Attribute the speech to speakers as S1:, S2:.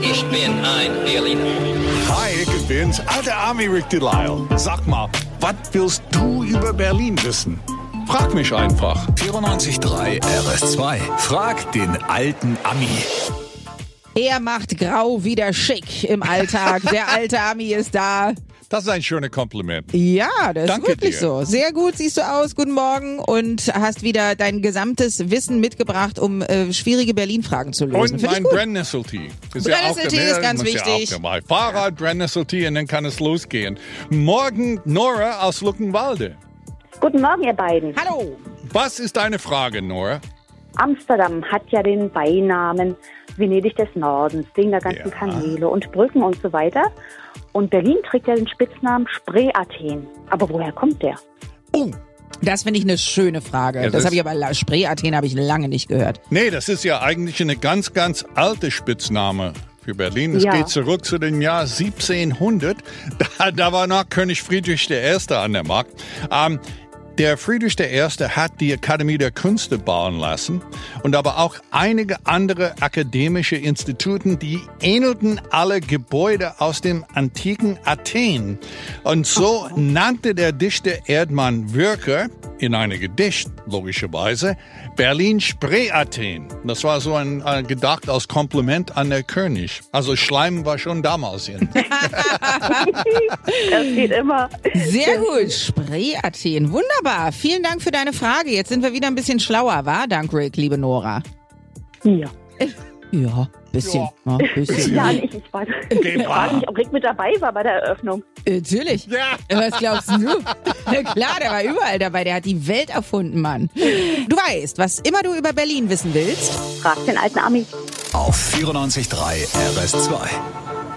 S1: Ich bin ein Berliner.
S2: Hi, ich bin's, alter Army Rick Delisle. Sag mal, was willst du über Berlin wissen? Frag mich einfach.
S3: 94.3 RS2. Frag den alten Ami.
S4: Er macht grau wieder schick im Alltag. Der alte Ami ist da.
S2: Das ist ein schönes Kompliment.
S4: Ja, das
S2: Danke
S4: ist wirklich
S2: dir.
S4: so. Sehr gut siehst du aus. Guten Morgen und hast wieder dein gesamtes Wissen mitgebracht, um äh, schwierige Berlin-Fragen zu lösen.
S2: Und
S4: Find ich
S2: mein
S4: gut.
S2: Brennnessel-Tee. Ist
S4: Brennnessel-Tee
S2: dabei.
S4: ist ganz
S2: Muss
S4: wichtig.
S2: Ja auch dabei. Fahrrad, Brennnessel-Tee und dann kann es losgehen. Morgen Nora aus Luckenwalde.
S5: Guten Morgen, ihr beiden.
S4: Hallo.
S2: Was ist deine Frage, Nora?
S5: Amsterdam hat ja den Beinamen Venedig des Nordens, wegen der ganzen
S2: Ja.
S5: Kanäle und Brücken und so weiter. Und Berlin trägt ja den Spitznamen Spree-Athen. Aber woher kommt der?
S2: Oh,
S4: Das finde ich eine schöne Frage.
S2: Ja,
S4: das
S2: das-
S4: habe ich aber La- Spree Athen habe ich lange nicht gehört.
S2: Nee, das ist ja eigentlich eine ganz, ganz alte Spitzname für Berlin. Es
S5: Ja.
S2: geht zurück zu dem Jahr 1700. Da, da war noch König Friedrich I. an der Macht. Ähm, der Friedrich I. hat die Akademie der Künste bauen lassen und aber auch einige andere akademische Instituten, die ähnelten alle Gebäude aus dem antiken Athen. Und so nannte der Dichter Erdmann Würker in einem Gedicht, logischerweise, Berlin Spree Athen. Das war so ein, ein gedacht als Kompliment an der König. Also Schleim war schon damals in.
S5: Das steht immer.
S4: Sehr gut. Spree Athen. Wunderbar. Vielen Dank für deine Frage. Jetzt sind wir wieder ein bisschen schlauer, war? Dank Rick, liebe Nora.
S5: Ja.
S4: Ja, bisschen. Ja, bisschen.
S5: Ja, ich, ich weiß ich frage mich, ob Rick mit dabei war bei der Eröffnung.
S4: Äh, Natürlich.
S2: Ja.
S4: Was glaubst du? Na klar, der war überall dabei. Der hat die Welt erfunden, Mann. Du weißt, was immer du über Berlin wissen willst.
S5: Frag den alten Ami.
S3: Auf 94.3 RS2.